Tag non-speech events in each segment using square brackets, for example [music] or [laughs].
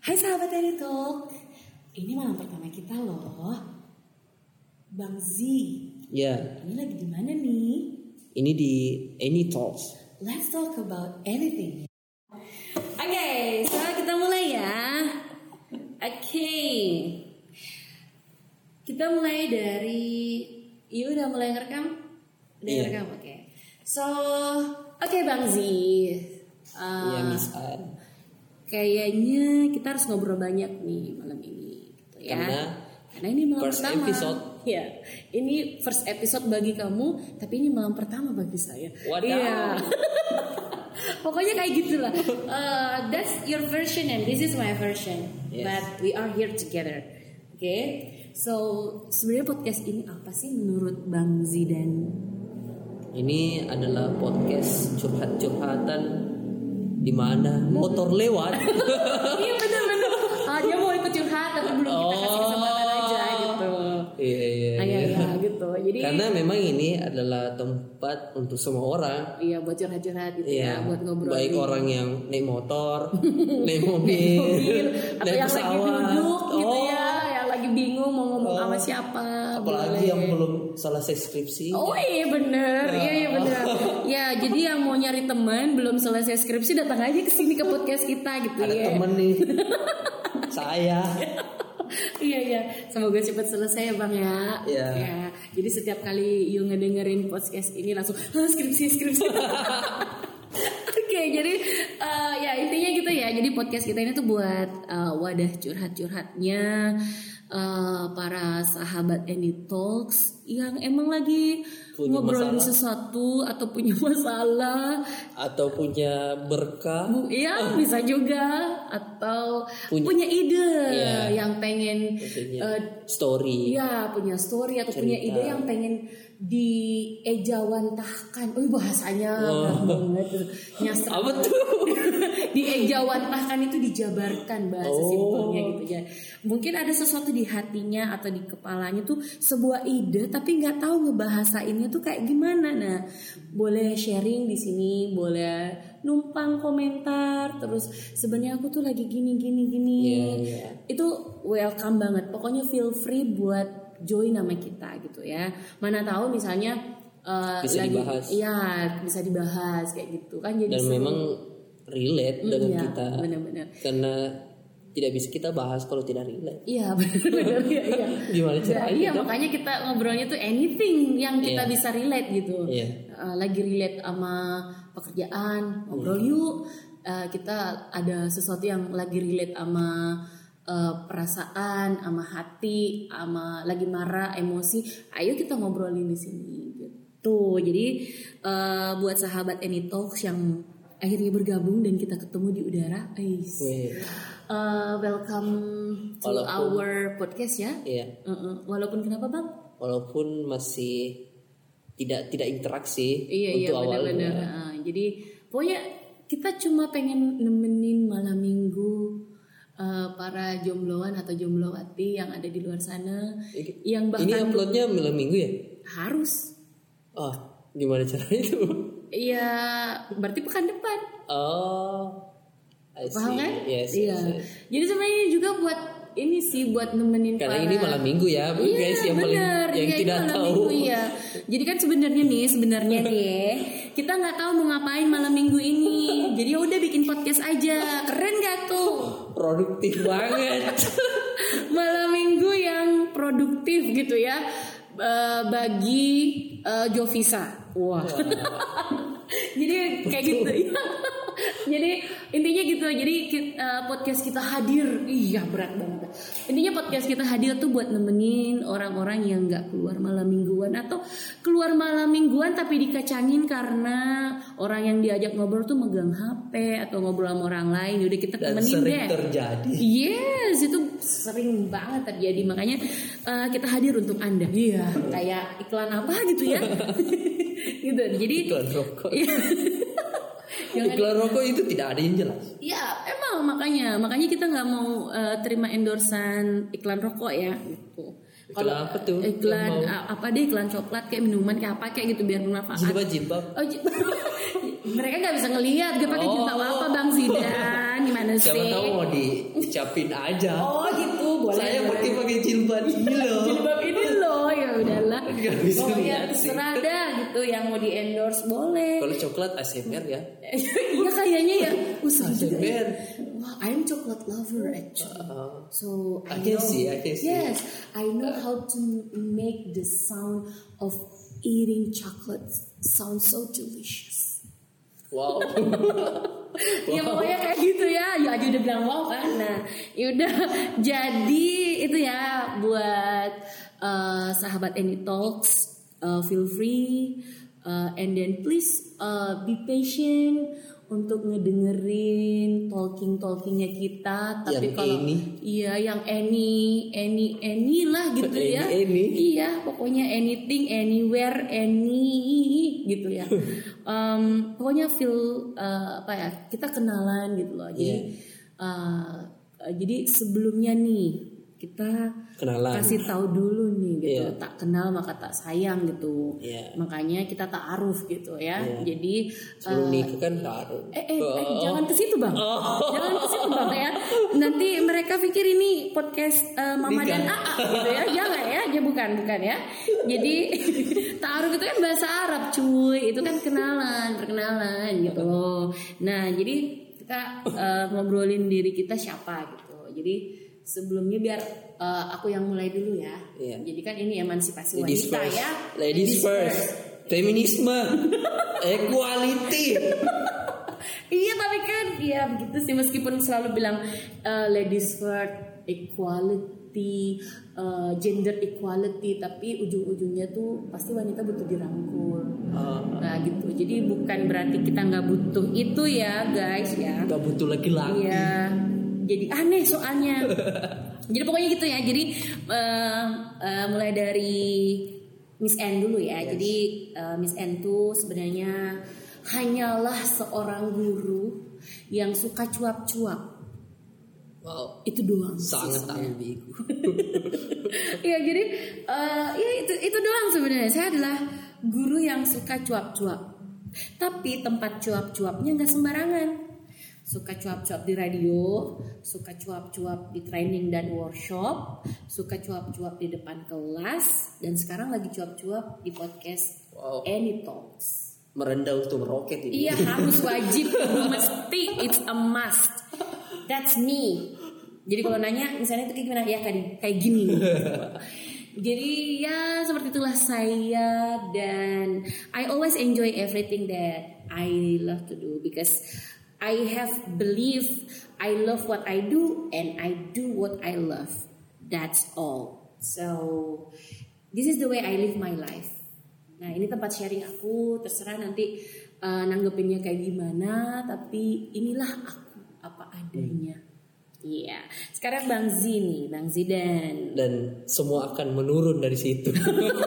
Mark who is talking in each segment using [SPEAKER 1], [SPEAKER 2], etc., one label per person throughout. [SPEAKER 1] Hai sahabat Teddy Talk Ini malam pertama kita loh Bang Z
[SPEAKER 2] Ya,
[SPEAKER 1] Ini lagi di mana nih?
[SPEAKER 2] ini di Any Talks.
[SPEAKER 1] Let's talk about anything Oke, so kita mulai ya Oke Kita mulai dari Iya udah mulai ngerekam? Udah
[SPEAKER 2] Iya.
[SPEAKER 1] ngerekam, oke So, oke Bang Z Uh,
[SPEAKER 2] Iya, Miss An.
[SPEAKER 1] kayaknya kita harus ngobrol banyak nih malam ini gitu ya
[SPEAKER 2] Karena-
[SPEAKER 1] Karena ini malam
[SPEAKER 2] first
[SPEAKER 1] pertama
[SPEAKER 2] episode.
[SPEAKER 1] ya ini first episode bagi kamu tapi ini malam pertama bagi saya
[SPEAKER 2] Wadaw.
[SPEAKER 1] Iya. [laughs] pokoknya kayak gitulah Eh, that's your version and this is my version
[SPEAKER 2] Yes.
[SPEAKER 1] but we are here together oke so sebenarnya podcast ini apa sih menurut Bang Zidan
[SPEAKER 2] [laughs] Ini adalah podcast curhat-curhatan di mana motor lewat.
[SPEAKER 1] [laughs] iya bener-bener Ah, dia mau ikut curhat tapi belum kita kasih kesempatan aja gitu
[SPEAKER 2] Iya, iya,
[SPEAKER 1] Ah,
[SPEAKER 2] iya.
[SPEAKER 1] iya, iya, gitu jadi
[SPEAKER 2] Karena memang ini adalah tempat untuk semua orang.
[SPEAKER 1] Iya buat curhat-curhat gitu ya,
[SPEAKER 2] Iya,
[SPEAKER 1] buat ngobrol. [laughs]
[SPEAKER 2] baik
[SPEAKER 1] di-
[SPEAKER 2] orang yang naik motor,
[SPEAKER 1] [laughs] di
[SPEAKER 2] naik mobil,
[SPEAKER 1] mobil, atau
[SPEAKER 2] naik
[SPEAKER 1] yang lagi
[SPEAKER 2] pesawat.
[SPEAKER 1] duduk gitu
[SPEAKER 2] Oh,
[SPEAKER 1] ya, yang lagi bingung mau ngomong sama siapa.
[SPEAKER 2] Apalagi
[SPEAKER 1] boleh.
[SPEAKER 2] yang Nah. belum selesai skripsi.
[SPEAKER 1] Oh iya bener, iya iya bener.
[SPEAKER 2] [laughs]
[SPEAKER 1] ya jadi yang mau nyari teman belum selesai skripsi datang aja ke sini ke podcast kita gitu
[SPEAKER 2] Ada
[SPEAKER 1] ya.
[SPEAKER 2] temen
[SPEAKER 1] [laughs]
[SPEAKER 2] nih. Saya.
[SPEAKER 1] iya iya, semoga cepat selesai ya bang ya.
[SPEAKER 2] Iya.
[SPEAKER 1] Ya, Jadi setiap kali you ngedengerin podcast ini langsung "Hah, skripsi skripsi. [laughs] Oke, jadi eh, ya intinya gitu ya. Jadi podcast kita ini tuh buat eh, wadah curhat-curhatnya eh, para sahabat Any Talks yang emang lagi
[SPEAKER 2] Punya
[SPEAKER 1] ngobrolin
[SPEAKER 2] masalah.
[SPEAKER 1] sesuatu atau punya masalah
[SPEAKER 2] Atau punya berkah.
[SPEAKER 1] Bu, iya bisa juga atau punya,
[SPEAKER 2] Oh. Punya-
[SPEAKER 1] ide
[SPEAKER 2] Iya.
[SPEAKER 1] yang pengen
[SPEAKER 2] Maksudnya
[SPEAKER 1] eh,
[SPEAKER 2] story
[SPEAKER 1] iya punya story atau punya
[SPEAKER 2] Cerita.
[SPEAKER 1] ide yang pengen diejawantahkan. Oh bahasanya berat banget nyastra.
[SPEAKER 2] apa
[SPEAKER 1] [laughs]
[SPEAKER 2] tuh
[SPEAKER 1] diejawantahkan itu dijabarkan bahasa
[SPEAKER 2] Oh.
[SPEAKER 1] simpelnya gitu ya. Mungkin ada sesuatu di hatinya atau di kepalanya tuh sebuah ide tapi nggak tahu ngebahasainnya tuh kayak gimana. Nah, boleh sharing di sini, boleh numpang komentar terus sebenarnya aku tuh lagi gini gini gini.
[SPEAKER 2] Iya, iya.
[SPEAKER 1] Itu welcome banget. Pokoknya feel free buat join nama kita gitu ya. Mana tahu misalnya eh,
[SPEAKER 2] Bisa
[SPEAKER 1] lagi
[SPEAKER 2] dibahas.
[SPEAKER 1] iya bisa dibahas kayak gitu kan jadi
[SPEAKER 2] dan
[SPEAKER 1] seru.
[SPEAKER 2] memang relate dengan
[SPEAKER 1] Iya,
[SPEAKER 2] kita
[SPEAKER 1] benar-benar.
[SPEAKER 2] karena tidak bisa kita bahas kalau tidak relate
[SPEAKER 1] Iya [laughs] benar-benar iya. iya.
[SPEAKER 2] gimana
[SPEAKER 1] Nah,
[SPEAKER 2] caranya
[SPEAKER 1] iya makanya kita ngobrolnya tuh anything yang kita
[SPEAKER 2] gitu. Iya.
[SPEAKER 1] bisa relate gitu.
[SPEAKER 2] Iya.
[SPEAKER 1] Eh, lagi relate sama pekerjaan ngobrol
[SPEAKER 2] Iya.
[SPEAKER 1] yuk. Eh, kita ada sesuatu yang lagi relate sama eh, perasaan, sama hati, sama lagi marah, emosi. Ayo kita ngobrolin di sini gitu. Jadi eh, buat sahabat Any Talks yang akhirnya bergabung dan kita ketemu di udara, Ais.
[SPEAKER 2] Weh,
[SPEAKER 1] Uh, welcome to
[SPEAKER 2] Walaupun-
[SPEAKER 1] our podcast ya.
[SPEAKER 2] iya.
[SPEAKER 1] Uh-uh. Walaupun kenapa bang?
[SPEAKER 2] walaupun masih tidak tidak interaksi
[SPEAKER 1] Iya iya
[SPEAKER 2] untuk ya. awalnya
[SPEAKER 1] benar-benar. Uh, jadi pokoknya kita cuma pengen nemenin malam minggu uh, para jombloan atau jomblowati yang ada di luar sana,
[SPEAKER 2] Ini-
[SPEAKER 1] yang
[SPEAKER 2] ini
[SPEAKER 1] bahkan
[SPEAKER 2] uploadnya malam minggu ya
[SPEAKER 1] harus.
[SPEAKER 2] ah gimana caranya itu
[SPEAKER 1] Iya, berarti pekan depan,
[SPEAKER 2] oh I see.
[SPEAKER 1] paham kan?
[SPEAKER 2] Yes,
[SPEAKER 1] iya.
[SPEAKER 2] yes, yes.
[SPEAKER 1] Jadi sebenarnya ini juga buat ini sih buat nemenin
[SPEAKER 2] karena
[SPEAKER 1] para
[SPEAKER 2] ini malam minggu ya guys yang paling
[SPEAKER 1] Iya, bener.
[SPEAKER 2] yang
[SPEAKER 1] Iya,
[SPEAKER 2] tidak
[SPEAKER 1] ini malam
[SPEAKER 2] tahu
[SPEAKER 1] minggu, iya. Jadi kan sebenarnya nih,
[SPEAKER 2] [laughs]
[SPEAKER 1] sebenarnya nih, kita nggak tahu mau ngapain malam minggu ini. Jadi ya udah bikin podcast aja. Keren gak tuh?
[SPEAKER 2] produktif banget
[SPEAKER 1] [laughs] Malam minggu yang produktif gitu ya Eh, bagi eh, Jovisa. Wah. [laughs] Jadi kayak gitu. [laughs] Jadi intinya gitu. Jadi ki- eh, podcast kita hadir. Iya berat banget. Intinya podcast kita hadir tuh buat nemenin orang-orang yang nggak keluar malam mingguan atau keluar malam mingguan tapi dikacangin karena orang yang diajak ngobrol tuh megang HP atau ngobrol sama orang lain. Udah kita
[SPEAKER 2] dan
[SPEAKER 1] temenin
[SPEAKER 2] sering
[SPEAKER 1] deh.
[SPEAKER 2] terjadi
[SPEAKER 1] Yes, itu sering banget terjadi. Makanya eh, kita hadir untuk Anda. Iya, kayak iklan apa gitu
[SPEAKER 2] [laughs]
[SPEAKER 1] ya. gitu. Jadi
[SPEAKER 2] iklan rokok
[SPEAKER 1] Iya. Yang ada-
[SPEAKER 2] iklan rokok itu tidak ada yang jelas
[SPEAKER 1] Ya, emang makanya makanya kita nggak mau eh, terima endorsan iklan rokok ya gitu.
[SPEAKER 2] Iklan apa tuh?
[SPEAKER 1] Iklan
[SPEAKER 2] Yang
[SPEAKER 1] a- apa deh iklan coklat kayak minuman kayak apa kayak gitu biar bermanfaat.
[SPEAKER 2] jilbab jilbab
[SPEAKER 1] [laughs] Oh, j- mereka nggak bisa ngelihat gue pakai
[SPEAKER 2] Oh.
[SPEAKER 1] jilbab apa Bang Zidan gimana
[SPEAKER 2] Siapa
[SPEAKER 1] Asik.
[SPEAKER 2] tahu mau dicapin aja.
[SPEAKER 1] Oh gitu boleh.
[SPEAKER 2] Saya
[SPEAKER 1] boleh.
[SPEAKER 2] pakai pakai jilbab ini loh.
[SPEAKER 1] Jilbab ini loh ya udahlah.
[SPEAKER 2] Gak bisa
[SPEAKER 1] Pokoknya
[SPEAKER 2] lihat sih.
[SPEAKER 1] terserah dah gitu yang mau di endorse boleh.
[SPEAKER 2] Kalau coklat ASMR ya.
[SPEAKER 1] [laughs] Iya kayaknya ya. Usah juga. ya.
[SPEAKER 2] ASMR.
[SPEAKER 1] Wah, I'm chocolate lover actually.
[SPEAKER 2] Uh,
[SPEAKER 1] So
[SPEAKER 2] I can see, I can see.
[SPEAKER 1] Yes, I know how to make the sound of eating chocolate sound so delicious. [laughs]
[SPEAKER 2] wow.
[SPEAKER 1] Ya pokoknya kayak gitu ya. Ya aja udah bilang wow kan. Nah, yaudah. Jadi itu ya buat eh, sahabat Any Talks, eh, feel free eh, and then please eh, be patient untuk ngedengerin talking talkingnya kita tapi
[SPEAKER 2] Yang
[SPEAKER 1] kalau
[SPEAKER 2] any.
[SPEAKER 1] iya yang any any any lah gitu
[SPEAKER 2] Any,
[SPEAKER 1] ya
[SPEAKER 2] any.
[SPEAKER 1] Iya, pokoknya anything, anywhere, any gitu
[SPEAKER 2] [laughs]
[SPEAKER 1] ya. Em, pokoknya feel eh, apa ya? Kita kenalan gitu loh. Jadi,
[SPEAKER 2] Iya.
[SPEAKER 1] eh, eh, jadi sebelumnya nih kita
[SPEAKER 2] Kenalan.
[SPEAKER 1] kasih tahu dulu nih gitu.
[SPEAKER 2] Iya.
[SPEAKER 1] Tak kenal maka tak sayang gitu.
[SPEAKER 2] Iya.
[SPEAKER 1] Makanya kita taaruf gitu ya. Jadi eh,
[SPEAKER 2] Sebelum nikah kan taruh.
[SPEAKER 1] Eh, eh, eh,
[SPEAKER 2] Oh.
[SPEAKER 1] jangan ke situ bang, jangan ke situ bang ya. Nanti mereka pikir ini podcast eh, Mama dan
[SPEAKER 2] Nikah.
[SPEAKER 1] Aa gitu ya, jangan ya, ya bukan bukan ya. Jadi [laughs] taruh itu kan bahasa Arab cuy, itu kan kenalan, perkenalan gitu loh. Nah jadi kita eh, ngobrolin diri kita siapa gitu. Jadi sebelumnya biar eh, aku yang mulai dulu ya.
[SPEAKER 2] Iya.
[SPEAKER 1] Jadi kan ini emansipasi
[SPEAKER 2] Ladies
[SPEAKER 1] wanita
[SPEAKER 2] first.
[SPEAKER 1] ya.
[SPEAKER 2] Ladies first.
[SPEAKER 1] [laughs]
[SPEAKER 2] Feminisme. Equality.
[SPEAKER 1] Iya tapi kan ya begitu sih meskipun selalu bilang eh, ladies first equality eh, gender equality tapi ujung-ujungnya tuh pasti wanita butuh dirangkul.
[SPEAKER 2] Uh,
[SPEAKER 1] Nah gitu jadi bukan berarti kita nggak butuh itu ya guys ya.
[SPEAKER 2] gak butuh laki-laki.
[SPEAKER 1] Iya. Jadi aneh soalnya. Jadi pokoknya gitu ya. Jadi eh, eh, mulai dari Miss N dulu ya. Jadi eh, Miss N tuh sebenarnya hanyalah seorang guru yang suka cuap-cuap.
[SPEAKER 2] Wow.
[SPEAKER 1] Itu doang. sih
[SPEAKER 2] Sangat
[SPEAKER 1] sebenarnya.
[SPEAKER 2] ambigu.
[SPEAKER 1] [laughs] Iya jadi eh, ya itu itu doang sebenarnya. Saya adalah guru yang suka cuap-cuap. Tapi tempat cuap-cuapnya nggak sembarangan. Suka cuap-cuap di radio, suka cuap-cuap di training dan workshop, suka cuap-cuap di depan kelas, dan sekarang lagi cuap-cuap di podcast
[SPEAKER 2] Wow.
[SPEAKER 1] Any Talks.
[SPEAKER 2] Merendah untuk meroket ini.
[SPEAKER 1] Iya harus wajib, kudu mesti, it's a must. That's me. Jadi kalau nanya misalnya itu kayak gimana? Ya kayak, kayak gini. Jadi ya seperti itulah saya dan I always enjoy everything that I love to do because I have belief I love what I do and I do what I love. That's all. So this is the way I live my life. Nah ini tempat sharing aku terserah nanti uh, nanggepinnya kayak gimana tapi inilah aku apa adanya. Iya. Sekarang Bang Zini, Bang Zidan.
[SPEAKER 2] Dan semua akan menurun dari situ.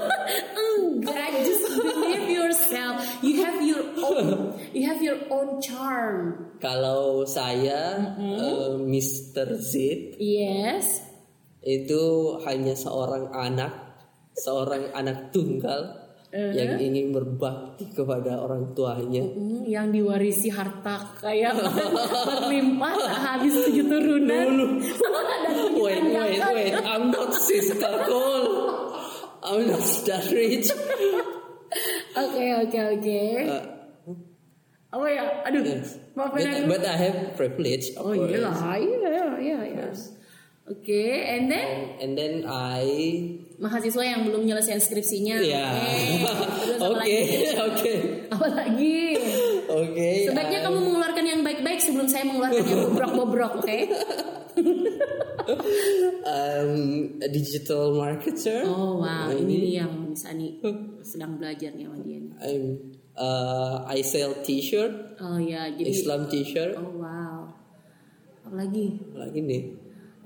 [SPEAKER 2] [laughs]
[SPEAKER 1] Enggak, Oh, just believe yourself. You have your own, you have your own charm.
[SPEAKER 2] Kalau saya, eh, Mr. Z,
[SPEAKER 1] Yes.
[SPEAKER 2] itu hanya seorang anak, seorang anak tunggal
[SPEAKER 1] Eh.
[SPEAKER 2] yang ingin berbakti kepada orang
[SPEAKER 1] [laughs]
[SPEAKER 2] tuanya.
[SPEAKER 1] Hmm, yang diwarisi harta kayak [laughs] berlimpah tak habis gitu, tujuh turunan. Dan
[SPEAKER 2] Wait, wait, wait, I'm not sister Cole. I'm not that
[SPEAKER 1] [laughs]
[SPEAKER 2] rich.
[SPEAKER 1] Oke, oke, oke.
[SPEAKER 2] Eh,
[SPEAKER 1] Oh ya, aduh.
[SPEAKER 2] Yes.
[SPEAKER 1] Maafin
[SPEAKER 2] but,
[SPEAKER 1] aku.
[SPEAKER 2] but I have privilege. of
[SPEAKER 1] Oh
[SPEAKER 2] course.
[SPEAKER 1] iya lah, iya, iya, iya. Oke, and then
[SPEAKER 2] And then I,
[SPEAKER 1] mahasiswa yang belum menyelesaikan skripsinya.
[SPEAKER 2] ya,
[SPEAKER 1] Iya. Oke. Terus
[SPEAKER 2] [laughs]
[SPEAKER 1] apa
[SPEAKER 2] oke,
[SPEAKER 1] lagi?
[SPEAKER 2] oke,
[SPEAKER 1] Apa lagi?
[SPEAKER 2] oke.
[SPEAKER 1] Sebaiknya kamu mengeluarkan yang baik-baik sebelum saya mengeluarkan yang bobrok-bobrok, oke?
[SPEAKER 2] um, a digital marketer.
[SPEAKER 1] Oh wow, ini nih yang Sani sedang belajar nih sama dia nih.
[SPEAKER 2] I'm uh, I sell T-shirt,
[SPEAKER 1] Oh ya, jadi
[SPEAKER 2] Islam T-shirt.
[SPEAKER 1] oh wow. Apalagi?
[SPEAKER 2] Lagi nih.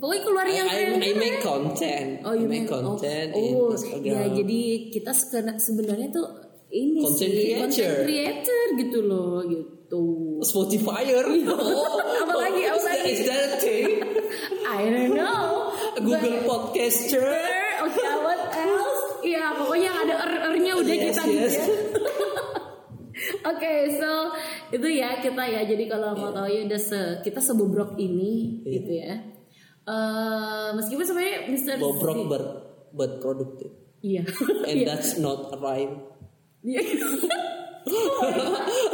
[SPEAKER 1] Pokoknya keluarin yang
[SPEAKER 2] I, I
[SPEAKER 1] keren.
[SPEAKER 2] make content.
[SPEAKER 1] Oh,
[SPEAKER 2] I
[SPEAKER 1] you
[SPEAKER 2] make
[SPEAKER 1] make- oh,
[SPEAKER 2] content
[SPEAKER 1] Oh,
[SPEAKER 2] in Instagram.
[SPEAKER 1] ya jadi kita sekena- sebenarnya tuh ini
[SPEAKER 2] Content
[SPEAKER 1] sih
[SPEAKER 2] creator.
[SPEAKER 1] content creator gitu loh, gitu. [laughs]
[SPEAKER 2] Spotifyer.
[SPEAKER 1] Apalagi,
[SPEAKER 2] Is that-
[SPEAKER 1] apalagi?
[SPEAKER 2] Is that a thing?
[SPEAKER 1] I don't know.
[SPEAKER 2] [laughs] Google Podcaster.
[SPEAKER 1] Oke, what else? Iya, pokoknya yang ada er-ernya udah [laughs]
[SPEAKER 2] Yes,
[SPEAKER 1] kita gitu
[SPEAKER 2] yes.
[SPEAKER 1] ya. Oke, so itu ya kita ya. Jadi kalau
[SPEAKER 2] Iya.
[SPEAKER 1] mau tahu ya udah se- kita sebobrok ini gitu ya. Eh, meskipun sebenarnya Mr.
[SPEAKER 2] Bobrok but but productive.
[SPEAKER 1] Iya.
[SPEAKER 2] And that's not a rhyme.
[SPEAKER 1] [laughs] Iya.
[SPEAKER 2] [laughs]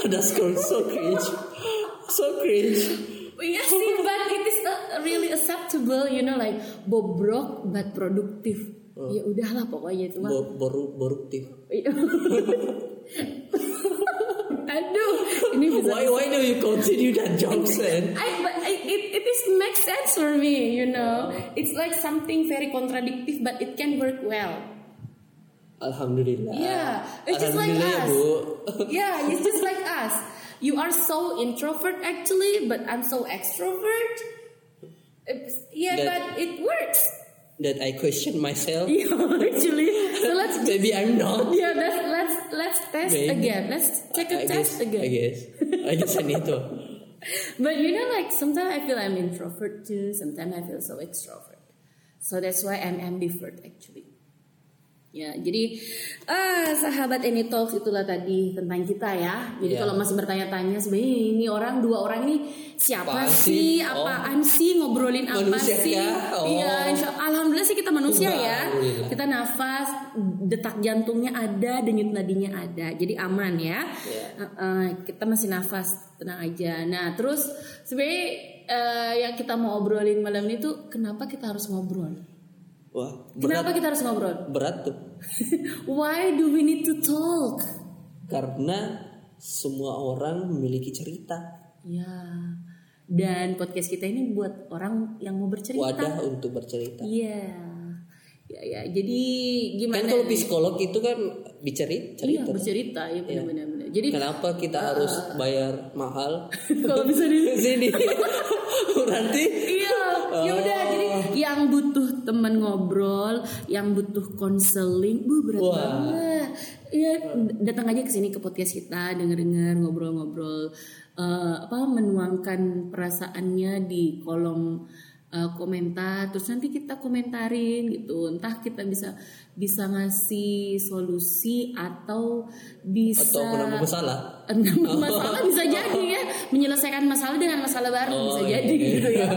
[SPEAKER 2] that's called so cringe. So cringe.
[SPEAKER 1] Iya sih, but it is not really acceptable, you know, like bobrok but produktif. Ya udahlah pokoknya itu mah.
[SPEAKER 2] Oh. Bo, boru, boruktif.
[SPEAKER 1] [laughs] Aduh, ini bisa.
[SPEAKER 2] Why why do you continue that joke, man?
[SPEAKER 1] I, but I, it, it is makes sense for me, you know. It's like something very contradictive, but it can work
[SPEAKER 2] [laughs]
[SPEAKER 1] well.
[SPEAKER 2] Alhamdulillah.
[SPEAKER 1] Yeah, it's just like
[SPEAKER 2] Alhamdulillah,
[SPEAKER 1] us.
[SPEAKER 2] Bu. [laughs]
[SPEAKER 1] Yeah, it's just like us. You are so introvert actually, but I'm so extrovert. It's- yeah,
[SPEAKER 2] That-
[SPEAKER 1] but it works. [laughs]
[SPEAKER 2] That I question myself.
[SPEAKER 1] Yeah, actually. So let's
[SPEAKER 2] Maybe I'm not.
[SPEAKER 1] yeah, let's let's let's test
[SPEAKER 2] Maybe.
[SPEAKER 1] again. Let's take a
[SPEAKER 2] I
[SPEAKER 1] test
[SPEAKER 2] guess,
[SPEAKER 1] again.
[SPEAKER 2] I guess. I guess I need to.
[SPEAKER 1] But you know, like sometimes I feel I'm introvert too. Sometimes I feel so extrovert. So that's why I'm ambivert actually. Ya, jadi ah sahabat Any Talks itulah tadi tentang kita ya. Jadi
[SPEAKER 2] Ya.
[SPEAKER 1] kalau masih bertanya-tanya sebenarnya ini orang dua orang ini siapa
[SPEAKER 2] Apaan
[SPEAKER 1] sih,
[SPEAKER 2] sih? Oh.
[SPEAKER 1] apaan sih ngobrolin apa
[SPEAKER 2] Manusia
[SPEAKER 1] sih?
[SPEAKER 2] ya? Oh.
[SPEAKER 1] Iya, insya- alhamdulillah sih kita manusia ya.
[SPEAKER 2] Alhamdulillah.
[SPEAKER 1] Kita nafas, detak jantungnya ada, denyut nadinya ada. Jadi aman ya.
[SPEAKER 2] Ya.
[SPEAKER 1] Uh, uh, kita masih nafas tenang aja. Nah terus sebenarnya uh, yang kita mau obrolin malam ini tuh kenapa kita harus ngobrol?
[SPEAKER 2] Wah,
[SPEAKER 1] Kenapa
[SPEAKER 2] berat,
[SPEAKER 1] kita harus ngobrol? [laughs]
[SPEAKER 2] berat tuh.
[SPEAKER 1] Why do we need to talk?
[SPEAKER 2] Karena semua orang memiliki cerita,
[SPEAKER 1] Ya. Dan podcast kita ini buat orang yang mau bercerita.
[SPEAKER 2] wadah untuk bercerita.
[SPEAKER 1] Iya. Ya ya. Jadi
[SPEAKER 2] Kan
[SPEAKER 1] gimana?
[SPEAKER 2] kalau psikolog itu kan bicara
[SPEAKER 1] Iya Ah.
[SPEAKER 2] cerita.
[SPEAKER 1] bercerita ya benar-benar. benar. Jadi
[SPEAKER 2] Kenapa kita harus bayar mahal? [laughs]
[SPEAKER 1] kalau bisa di
[SPEAKER 2] Sini. [laughs] Berarti
[SPEAKER 1] [laughs] Iya, ya udah jadi yang butuh teman ngobrol, yang butuh konseling, bu berat
[SPEAKER 2] Wah.
[SPEAKER 1] banget. Ya datang aja ke sini ke podcast kita, denger-denger ngobrol-ngobrol eh, apa menuangkan perasaannya di kolom eh, komentar terus nanti kita komentarin gitu entah kita bisa bisa ngasih solusi atau bisa
[SPEAKER 2] atau menambah masalah.
[SPEAKER 1] Menambah masalah bisa jadi ya menyelesaikan masalah dengan masalah baru
[SPEAKER 2] Oh,
[SPEAKER 1] bisa
[SPEAKER 2] iya,
[SPEAKER 1] jadi gitu
[SPEAKER 2] [laughs]
[SPEAKER 1] ya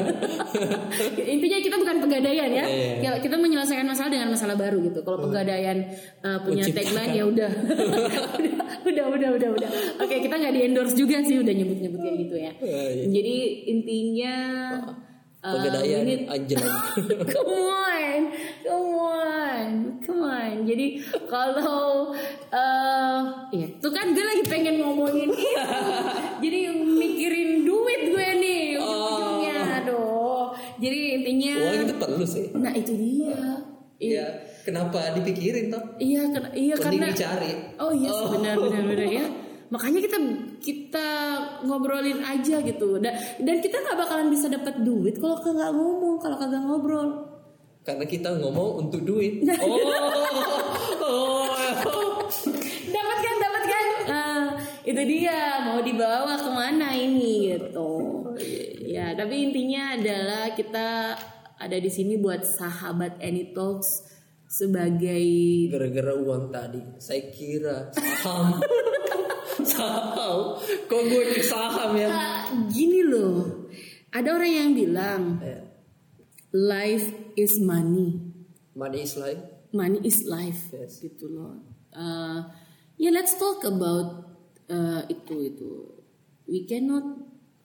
[SPEAKER 1] intinya kita bukan pegadaian ya
[SPEAKER 2] Iya. Oh.
[SPEAKER 1] Kalau kita menyelesaikan masalah dengan masalah baru gitu kalau pegadaian eh, punya
[SPEAKER 2] Menciptakan.
[SPEAKER 1] tagline ya
[SPEAKER 2] [laughs]
[SPEAKER 1] udah udah udah udah udah oke kita nggak di endorse juga sih udah nyebut nyebut kayak gitu ya
[SPEAKER 2] Iya, iya. Oh,
[SPEAKER 1] jadi intinya eh, we need-
[SPEAKER 2] Pegadaian ya. anjlok.
[SPEAKER 1] [laughs] come on, come on, come on. Jadi kalau eh ya, tuh kan gue lagi pengen ngomongin itu. Jadi mikirin duit gue nih ujung-ujungnya. Aduh. Jadi intinya
[SPEAKER 2] Uang itu perlu sih.
[SPEAKER 1] nah itu dia. Iya.
[SPEAKER 2] Iya, kenapa dipikirin toh?
[SPEAKER 1] Iya, ken- iya
[SPEAKER 2] Mending
[SPEAKER 1] karena
[SPEAKER 2] dicari.
[SPEAKER 1] Oh iya sih, benar benar benar ya. Makanya kita kita ngobrolin aja gitu. Dan, dan kita nggak bakalan bisa dapat duit kalau kagak ngomong, kalau kagak ngobrol.
[SPEAKER 2] Karena kita ngomong untuk
[SPEAKER 1] [laughs]
[SPEAKER 2] duit. Oh. oh.
[SPEAKER 1] dapat kan dapat kan Ah, itu dia mau dibawa kemana ini gitu ya tapi intinya adalah kita ada di sini buat sahabat Any Talks sebagai
[SPEAKER 2] Gara-gara uang tadi, saya kira saham.
[SPEAKER 1] [laughs]
[SPEAKER 2] saham. Kok gue ke saham ya?
[SPEAKER 1] Ah, gini loh ada orang yang bilang
[SPEAKER 2] Eh,
[SPEAKER 1] life is money
[SPEAKER 2] Money is life.
[SPEAKER 1] money is life
[SPEAKER 2] Yes.
[SPEAKER 1] gitu loh Uh, ya let's talk about uh, itu itu we cannot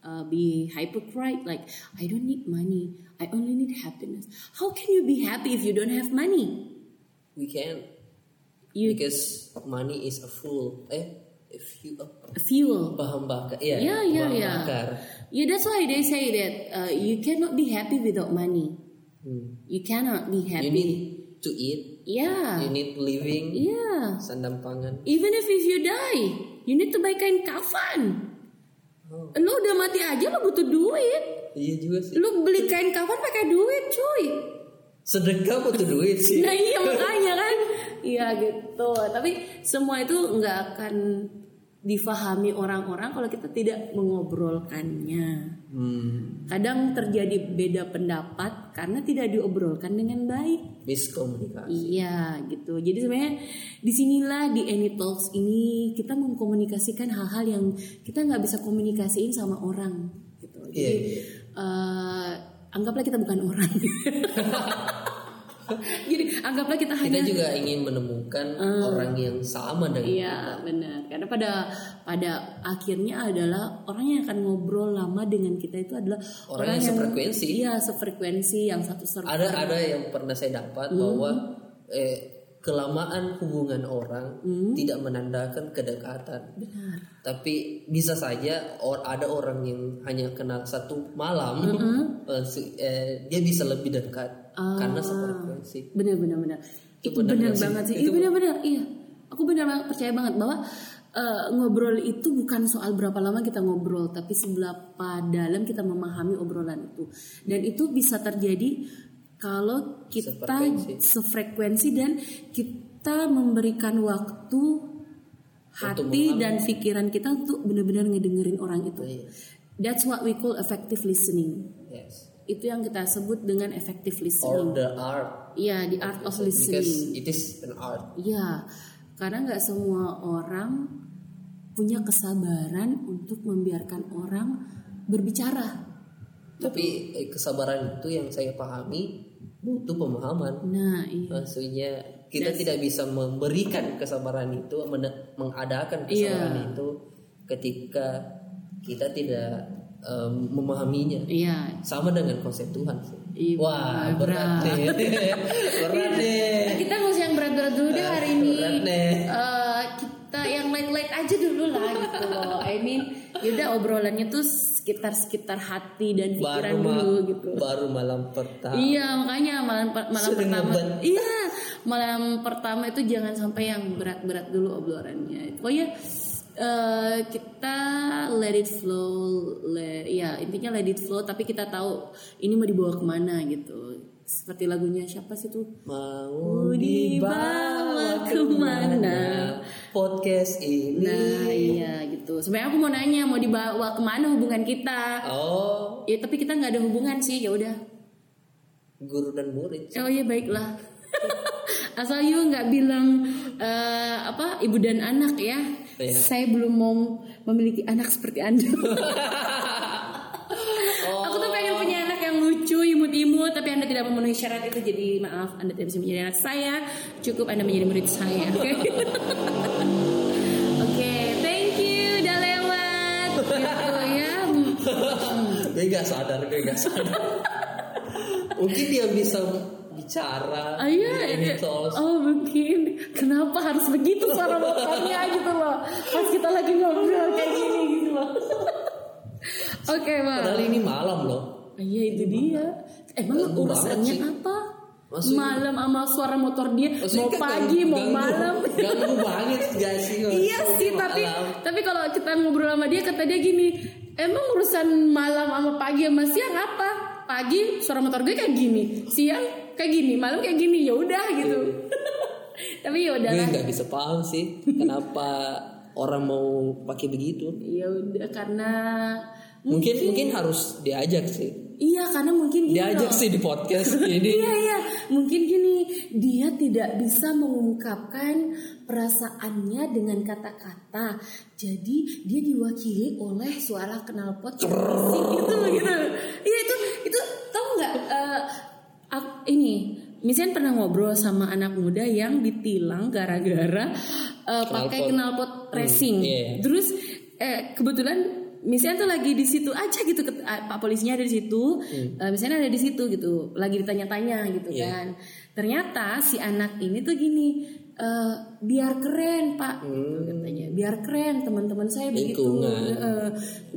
[SPEAKER 1] uh, be hypocrite like I don't need money I only need happiness how can you be happy if you don't have money
[SPEAKER 2] We can
[SPEAKER 1] you
[SPEAKER 2] because money is a fool. Eh, if you a
[SPEAKER 1] fuel
[SPEAKER 2] bahan bakar. Iya,
[SPEAKER 1] Yeah, yeah,
[SPEAKER 2] bahan
[SPEAKER 1] yeah.
[SPEAKER 2] bakar.
[SPEAKER 1] yeah that's why they say that uh, you cannot be happy without money
[SPEAKER 2] Hmm.
[SPEAKER 1] you cannot be
[SPEAKER 2] You
[SPEAKER 1] happy Iya.
[SPEAKER 2] need to eat. You
[SPEAKER 1] yeah
[SPEAKER 2] need living.
[SPEAKER 1] yeah
[SPEAKER 2] Sandang pangan.
[SPEAKER 1] even if if you die you need to buy kain kafan
[SPEAKER 2] Oh,
[SPEAKER 1] lu udah mati aja lu butuh duit
[SPEAKER 2] iya juga sih.
[SPEAKER 1] lu beli kain kafan pakai duit cuy
[SPEAKER 2] Sedekah butuh duit sih.
[SPEAKER 1] nah iya makanya kan iya gitu tapi semua itu nggak akan difahami orang-orang kalau kita tidak mengobrolkannya.
[SPEAKER 2] Hmm,
[SPEAKER 1] Kadang terjadi beda pendapat karena tidak diobrolkan dengan baik.
[SPEAKER 2] miskomunikasi.
[SPEAKER 1] Iya gitu. Jadi sebenarnya disinilah di Any Talks ini kita mengkomunikasikan hal-hal yang kita nggak bisa komunikasiin sama orang. Gitu. Jadi
[SPEAKER 2] Iya, iya.
[SPEAKER 1] eh, anggaplah kita bukan orang. [laughs] Jadi anggaplah kita
[SPEAKER 2] Kita
[SPEAKER 1] hanya.
[SPEAKER 2] juga ingin menemukan
[SPEAKER 1] Ah.
[SPEAKER 2] orang yang sama dengan
[SPEAKER 1] Iya benar. Karena pada pada akhirnya adalah orang yang akan ngobrol lama dengan kita itu adalah
[SPEAKER 2] Orang yang sefrekuensi.
[SPEAKER 1] Iya sefrekuensi yang satu server.
[SPEAKER 2] ada ada yang pernah saya dapat
[SPEAKER 1] Hmm.
[SPEAKER 2] bahwa eh, kelamaan hubungan orang
[SPEAKER 1] Hmm.
[SPEAKER 2] tidak menandakan kedekatan tapi bisa saja or ada orang yang hanya kenal satu malam
[SPEAKER 1] Hmm.
[SPEAKER 2] [laughs] eh, si- eh, dia bisa lebih dekat karena
[SPEAKER 1] Ah.
[SPEAKER 2] sefrekuensi
[SPEAKER 1] benar benar benar itu,
[SPEAKER 2] benar
[SPEAKER 1] benar
[SPEAKER 2] nggak sih?
[SPEAKER 1] banget sih
[SPEAKER 2] Itu
[SPEAKER 1] itu benar benar iya aku benar banget percaya banget bahwa eh, ngobrol itu bukan soal berapa lama kita ngobrol tapi seberapa dalam kita memahami obrolan itu dan itu bisa terjadi kalau kita
[SPEAKER 2] Sefrekuensi.
[SPEAKER 1] sefrekuensi dan kita memberikan waktu hati dan pikiran kita untuk benar-benar ngedengerin orang itu
[SPEAKER 2] Iya.
[SPEAKER 1] that's what we call effective listening
[SPEAKER 2] yes
[SPEAKER 1] itu yang kita sebut dengan effective listening
[SPEAKER 2] or the art
[SPEAKER 1] Iya, the art of
[SPEAKER 2] because
[SPEAKER 1] listening.
[SPEAKER 2] it is an art
[SPEAKER 1] Iya, karena nggak semua orang punya kesabaran untuk membiarkan orang berbicara.
[SPEAKER 2] tapi eh, kesabaran itu yang saya pahami butuh pemahaman
[SPEAKER 1] Nah, iya.
[SPEAKER 2] Maksudnya kita tidak bisa memberikan kesabaran itu, men-
[SPEAKER 1] Iya.
[SPEAKER 2] mengadakan kesabaran itu ketika kita tidak em, memahaminya.
[SPEAKER 1] Iya.
[SPEAKER 2] Sama dengan konsep Tuhan sih.
[SPEAKER 1] Iya,
[SPEAKER 2] Wah berat
[SPEAKER 1] berat. Iya.
[SPEAKER 2] deh,
[SPEAKER 1] [laughs]
[SPEAKER 2] berat deh.
[SPEAKER 1] Kita nggak usah yang berat-berat dulu deh hari ini.
[SPEAKER 2] Berat deh.
[SPEAKER 1] Eh, kita yang light-light aja dulu lah gitu loh. I mean, yaudah obrolannya tuh sekitar-sekitar hati dan pikiran
[SPEAKER 2] Baru, ma-
[SPEAKER 1] dulu gitu.
[SPEAKER 2] baru malam pertama.
[SPEAKER 1] Iya makanya malam per- malam
[SPEAKER 2] Sering
[SPEAKER 1] pertama
[SPEAKER 2] ngeban.
[SPEAKER 1] [laughs] iya malam pertama itu jangan sampai yang berat-berat dulu obrolannya. Pokoknya eh, kita let it flow, le- ya intinya let it flow tapi kita tahu ini mau dibawa kemana gitu. Seperti lagunya siapa sih tuh?
[SPEAKER 2] Mau
[SPEAKER 1] Iya. dibawa
[SPEAKER 2] dibawa
[SPEAKER 1] kemana?
[SPEAKER 2] kemana podcast ini?
[SPEAKER 1] Nah iya gitu. Sebenarnya aku mau nanya mau dibawa kemana hubungan kita?
[SPEAKER 2] Oh,
[SPEAKER 1] Ya tapi kita nggak ada hubungan sih ya udah.
[SPEAKER 2] guru dan murid.
[SPEAKER 1] Oh iya baiklah. [laughs] Asal you nggak bilang eh, apa ibu dan anak ya.
[SPEAKER 2] Iya.
[SPEAKER 1] Saya belum mau memiliki anak seperti anda. Aku tuh pengen punya anak yang lucu, imut-imut, tapi anda tidak memenuhi syarat itu. Jadi maaf, anda tidak bisa menjadi anak saya. Cukup anda menjadi murid saya. Oke. Oke, thank you. Udah lewat. Gitu ya.
[SPEAKER 2] gue gak sadar gue gak
[SPEAKER 1] [laughs]
[SPEAKER 2] sadar mungkin dia bisa bicara
[SPEAKER 1] Oh iya,
[SPEAKER 2] di ini
[SPEAKER 1] iya.
[SPEAKER 2] tolls.
[SPEAKER 1] oh mungkin kenapa harus begitu suara vokalnya gitu loh pas kita lagi ngobrol kayak gini gitu
[SPEAKER 2] [laughs]
[SPEAKER 1] loh. Oke
[SPEAKER 2] padahal
[SPEAKER 1] Mak.
[SPEAKER 2] ini malam loh
[SPEAKER 1] Oh, Iya itu dia. Emang
[SPEAKER 2] Ganggu banget
[SPEAKER 1] urusannya
[SPEAKER 2] sih.
[SPEAKER 1] apa?
[SPEAKER 2] Maksudnya-
[SPEAKER 1] Malam sama suara motor dia
[SPEAKER 2] Maksudnya
[SPEAKER 1] mau
[SPEAKER 2] kan
[SPEAKER 1] pagi
[SPEAKER 2] ganggu-
[SPEAKER 1] mau
[SPEAKER 2] ganggu-
[SPEAKER 1] malam.
[SPEAKER 2] [laughs] ganggu banget gak sih
[SPEAKER 1] Iya
[SPEAKER 2] maksudnya
[SPEAKER 1] sih tapi
[SPEAKER 2] malam.
[SPEAKER 1] tapi kalau kita ngobrol sama dia kata dia gini, emang urusan malam sama pagi sama siang apa? Pagi suara motor gue kayak gini, siang kayak gini, malam kayak gini, ya udah gitu. [laughs] tapi ya
[SPEAKER 2] gue
[SPEAKER 1] udahlah.
[SPEAKER 2] gak bisa paham sih kenapa orang mau pakai begitu
[SPEAKER 1] Ya udah karena
[SPEAKER 2] mungkin mungkin harus diajak sih
[SPEAKER 1] iya karena mungkin gini
[SPEAKER 2] diajak
[SPEAKER 1] loh.
[SPEAKER 2] sih di
[SPEAKER 1] [laughs]
[SPEAKER 2] podcast ini
[SPEAKER 1] Iya iya, mungkin gini dia tidak bisa mengungkapkan perasaannya dengan kata-kata, jadi dia diwakili oleh suara knalpot yang berisik gitu gitu. Iya itu itu tau nggak? eh, ak- ini Misen pernah ngobrol sama anak muda yang ditilang gara-gara eh, pakai knalpot racing.
[SPEAKER 2] iya, iya.
[SPEAKER 1] Terus eh, kebetulan misalnya tuh lagi di situ aja gitu, ket- ah, pak polisinya ada di situ, eh, misalnya ada di situ gitu, lagi ditanya-tanya gitu
[SPEAKER 2] Hmm. Iya.
[SPEAKER 1] kan. Ternyata si anak ini tuh gini, eh, biar keren pak, gitu katanya, biar keren teman-teman saya begitu,
[SPEAKER 2] Hmm. Lingkungan.
[SPEAKER 1] eh,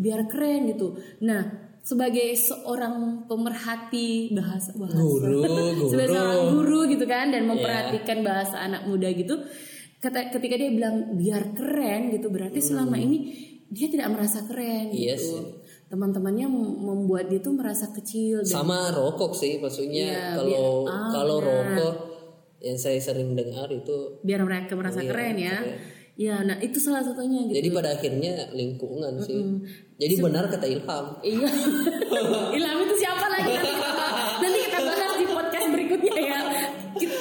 [SPEAKER 1] biar keren gitu. Nah sebagai seorang pemerhati bahasa bahasa
[SPEAKER 2] Guru, guru.
[SPEAKER 1] [laughs] sebagai seorang guru gitu kan
[SPEAKER 2] Iya.
[SPEAKER 1] dan memperhatikan bahasa anak muda gitu kata ketika dia bilang biar keren gitu berarti selama ini dia tidak merasa keren
[SPEAKER 2] Hmm. Iya sih.
[SPEAKER 1] gitu teman-temannya mem- membuat dia tuh merasa kecil dan
[SPEAKER 2] sama rokok sih maksudnya
[SPEAKER 1] Iya,
[SPEAKER 2] kalau
[SPEAKER 1] biar- ah,
[SPEAKER 2] kalau
[SPEAKER 1] benar.
[SPEAKER 2] rokok yang saya sering dengar itu iya,
[SPEAKER 1] biar mereka merasa keren ya Ya, nah itu salah satunya gitu.
[SPEAKER 2] Jadi pada akhirnya lingkungan sih.
[SPEAKER 1] Hmm.
[SPEAKER 2] Jadi benar kata Ilham.
[SPEAKER 1] Iya. [laughs] Ilham itu siapa lagi? Nanti kita, nanti kita bahas di podcast berikutnya ya.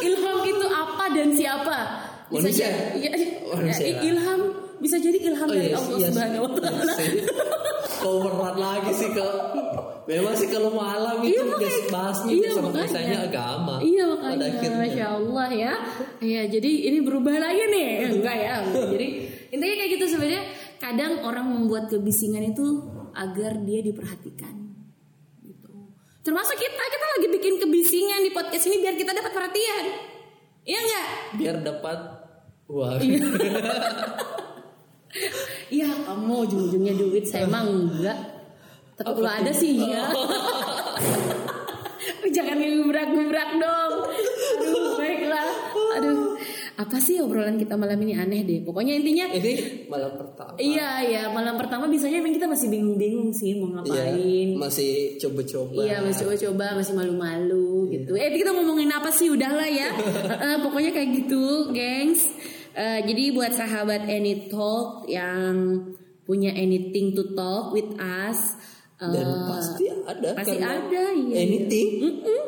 [SPEAKER 1] Ilham itu apa dan siapa?
[SPEAKER 2] Manusia.
[SPEAKER 1] jadi- ya,
[SPEAKER 2] Manusia.
[SPEAKER 1] ya, ilham bisa jadi ilham dari
[SPEAKER 2] iya,
[SPEAKER 1] Oh, Allah
[SPEAKER 2] iya,
[SPEAKER 1] Subhanahu wa taala.
[SPEAKER 2] sih. Kau berat lagi sih kau. Memang sih kalau malam itu
[SPEAKER 1] Iya,
[SPEAKER 2] udah
[SPEAKER 1] makanya-
[SPEAKER 2] bahasnya
[SPEAKER 1] iya,
[SPEAKER 2] sama
[SPEAKER 1] makanya.
[SPEAKER 2] biasanya agama.
[SPEAKER 1] Iya
[SPEAKER 2] Pada
[SPEAKER 1] makanya
[SPEAKER 2] akhirnya.
[SPEAKER 1] Masya Allah ya Iya jadi ini berubah lagi nih
[SPEAKER 2] Iya.
[SPEAKER 1] Ya, Enggak ya Jadi intinya kayak gitu sebenarnya Kadang orang membuat kebisingan itu Agar dia diperhatikan gitu. Termasuk kita Kita lagi bikin kebisingan di podcast ini Biar kita dapat perhatian Iya enggak?
[SPEAKER 2] Biar dapat uang.
[SPEAKER 1] Iya kamu ujung-ujungnya duit Saya emang enggak Tapi kalau ada sih iya [laughs] Jangan gubrak-gubrak dong Aduh baiklah Aduh Apa sih obrolan kita malam ini aneh deh Pokoknya intinya
[SPEAKER 2] [laughs] Ini malam pertama.
[SPEAKER 1] Iya ya malam pertama biasanya emang kita masih bingung-bingung sih mau
[SPEAKER 2] Iya,
[SPEAKER 1] ngapain
[SPEAKER 2] masih coba-coba.
[SPEAKER 1] Iya masih coba-coba masih
[SPEAKER 2] Iya.
[SPEAKER 1] malu-malu gitu. Eh kita ngomongin apa sih udahlah
[SPEAKER 2] [laughs]
[SPEAKER 1] ya. Eh, pokoknya kayak gitu, gengs. Eh, jadi buat sahabat Any Talk yang punya anything to talk with us. eh,
[SPEAKER 2] Dan pasti ada.
[SPEAKER 1] pasti
[SPEAKER 2] karena
[SPEAKER 1] ada, iya.
[SPEAKER 2] Anything.
[SPEAKER 1] Mm-mm.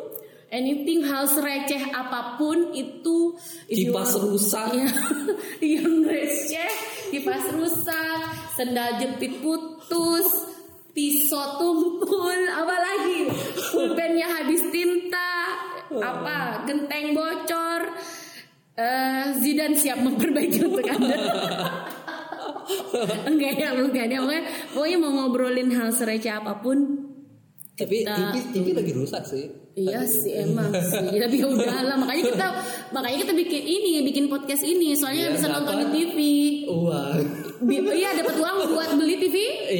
[SPEAKER 1] Anything hal receh apapun itu if you
[SPEAKER 2] Kipas
[SPEAKER 1] want-
[SPEAKER 2] rusak.
[SPEAKER 1] Iya. [laughs] yang receh kipas rusak sendal jepit putus pisau tumpul apalagi pulpennya habis tinta apa genteng bocor eh Zidan siap memperbaiki untuk anda [laughs] enggak ya enggak ya pokoknya, pokoknya mau ngobrolin hal sereceh apapun
[SPEAKER 2] Tapi TV, TV lagi rusak sih.
[SPEAKER 1] Iya sih emang sih, tapi ya udahlah makanya kita makanya kita bikin ini, bikin podcast ini soalnya
[SPEAKER 2] Iya,
[SPEAKER 1] bisa nonton di
[SPEAKER 2] dapat.
[SPEAKER 1] TV.
[SPEAKER 2] Uang.
[SPEAKER 1] Bi- Iya dapat uang buat beli TV